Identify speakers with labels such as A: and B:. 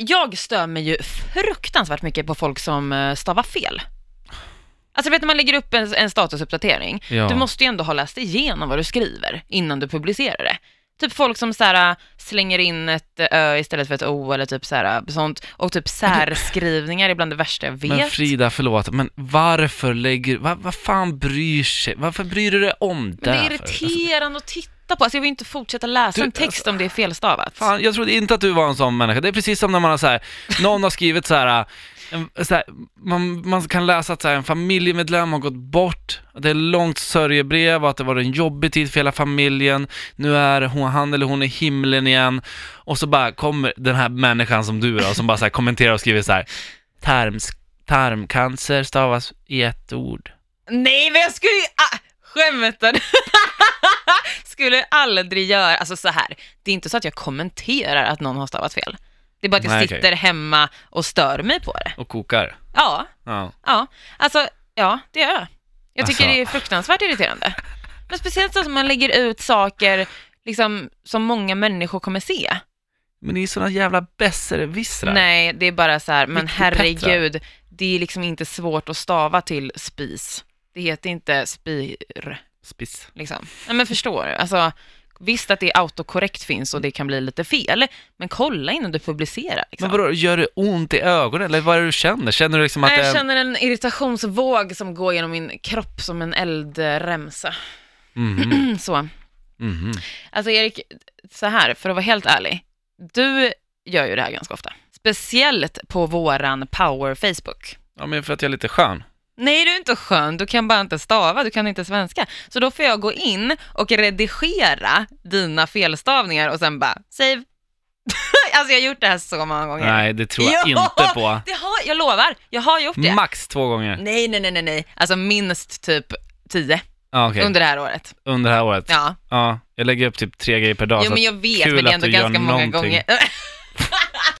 A: Jag stör mig ju fruktansvärt mycket på folk som eh, stavar fel. Alltså vet när man lägger upp en, en statusuppdatering,
B: Ja.
A: du måste ju ändå ha läst igenom vad du skriver innan du publicerar det. Typ folk som så här, äh, slänger in ett eh, ö istället för ett o eller typ så här, äh, sånt. Och typ särskrivningar är bland det värsta jag vet.
B: Men Frida, förlåt, men varför lägger, vad, vad fan bryr sig, varför bryr du dig om det?
A: Men det är
B: här för? Alltså,
A: irriterande att titta på. Alltså jag vill inte fortsätta läsa
B: Du, alltså-
A: en text om det är felstavat.
B: Fan, jag trodde inte att du var en sån människa. Det är precis som när man har så här, någon har skrivit så här, äh, en- så här man, man kan läsa att så här, en familjemedlem har gått bort, att det är långt sörjebrev och att det var en jobbig tid för hela familjen, nu är hon, han eller hon i himlen igen, och så bara kommer den här människan som du då, som bara så här kommenterar och skriver så här, tarms, tarmcancer stavas i ett ord.
A: Nej men jag skulle ju... Ah, skämtar du? skulle aldrig göra... Alltså så här, det är inte så att jag kommenterar att någon har stavat fel. Det är bara att jag
B: Nej, okej.
A: sitter hemma och stör mig på det.
B: Och kokar.
A: Ja,
B: Ja.
A: ja. Alltså, ja, det gör jag. Jag tycker
B: Alltså.
A: det är fruktansvärt irriterande. Men speciellt så att man lägger ut saker liksom, som många människor kommer se.
B: Men ni är såna jävla besserwissrar.
A: Nej, det är bara så här, men
B: Viktigt Petra.
A: herregud, det är liksom inte svårt att stava till spis. Det heter inte spir.
B: Spiss.
A: liksom. Nej men förstår du? Alltså, visst att det är autokorrekt finns och det kan bli lite fel, men kolla innan du publicerar. Liksom.
B: Men vadå, gör det ont i ögonen? Eller vad är det du känner? Känner du liksom att
A: Nej,
B: det är
A: jag
B: en-
A: känner en irritationsvåg som går genom min kropp som en eldremsa.
B: Mhm,
A: Mm, så.
B: mhm.
A: Alltså Erik, så här, för att vara helt ärlig. Du gör ju det här ganska ofta. Speciellt på våran power Facebook.
B: Ja, men för att jag är lite skön.
A: Nej, du är inte skön. Du kan bara inte stava, du kan inte svenska. Så då får jag gå in och redigera dina felstavningar och sen bara save. alltså jag har gjort det här så många gånger.
B: Nej, det tror jag
A: Jo!
B: inte på.
A: Det har, jag lovar, jag har gjort det.
B: Max två gånger.
A: nej, nej, nej, nej, nej. Alltså minst typ 10
B: Ja, okej.
A: under det här året.
B: Under det här året. Ja.
A: Ja,
B: Jag lägger upp typ tre grejer per dag.
A: jo,
B: så
A: men
B: att-
A: jag vet,
B: kul
A: men det är
B: att
A: ändå
B: du gör
A: ganska många
B: någonting.
A: gånger.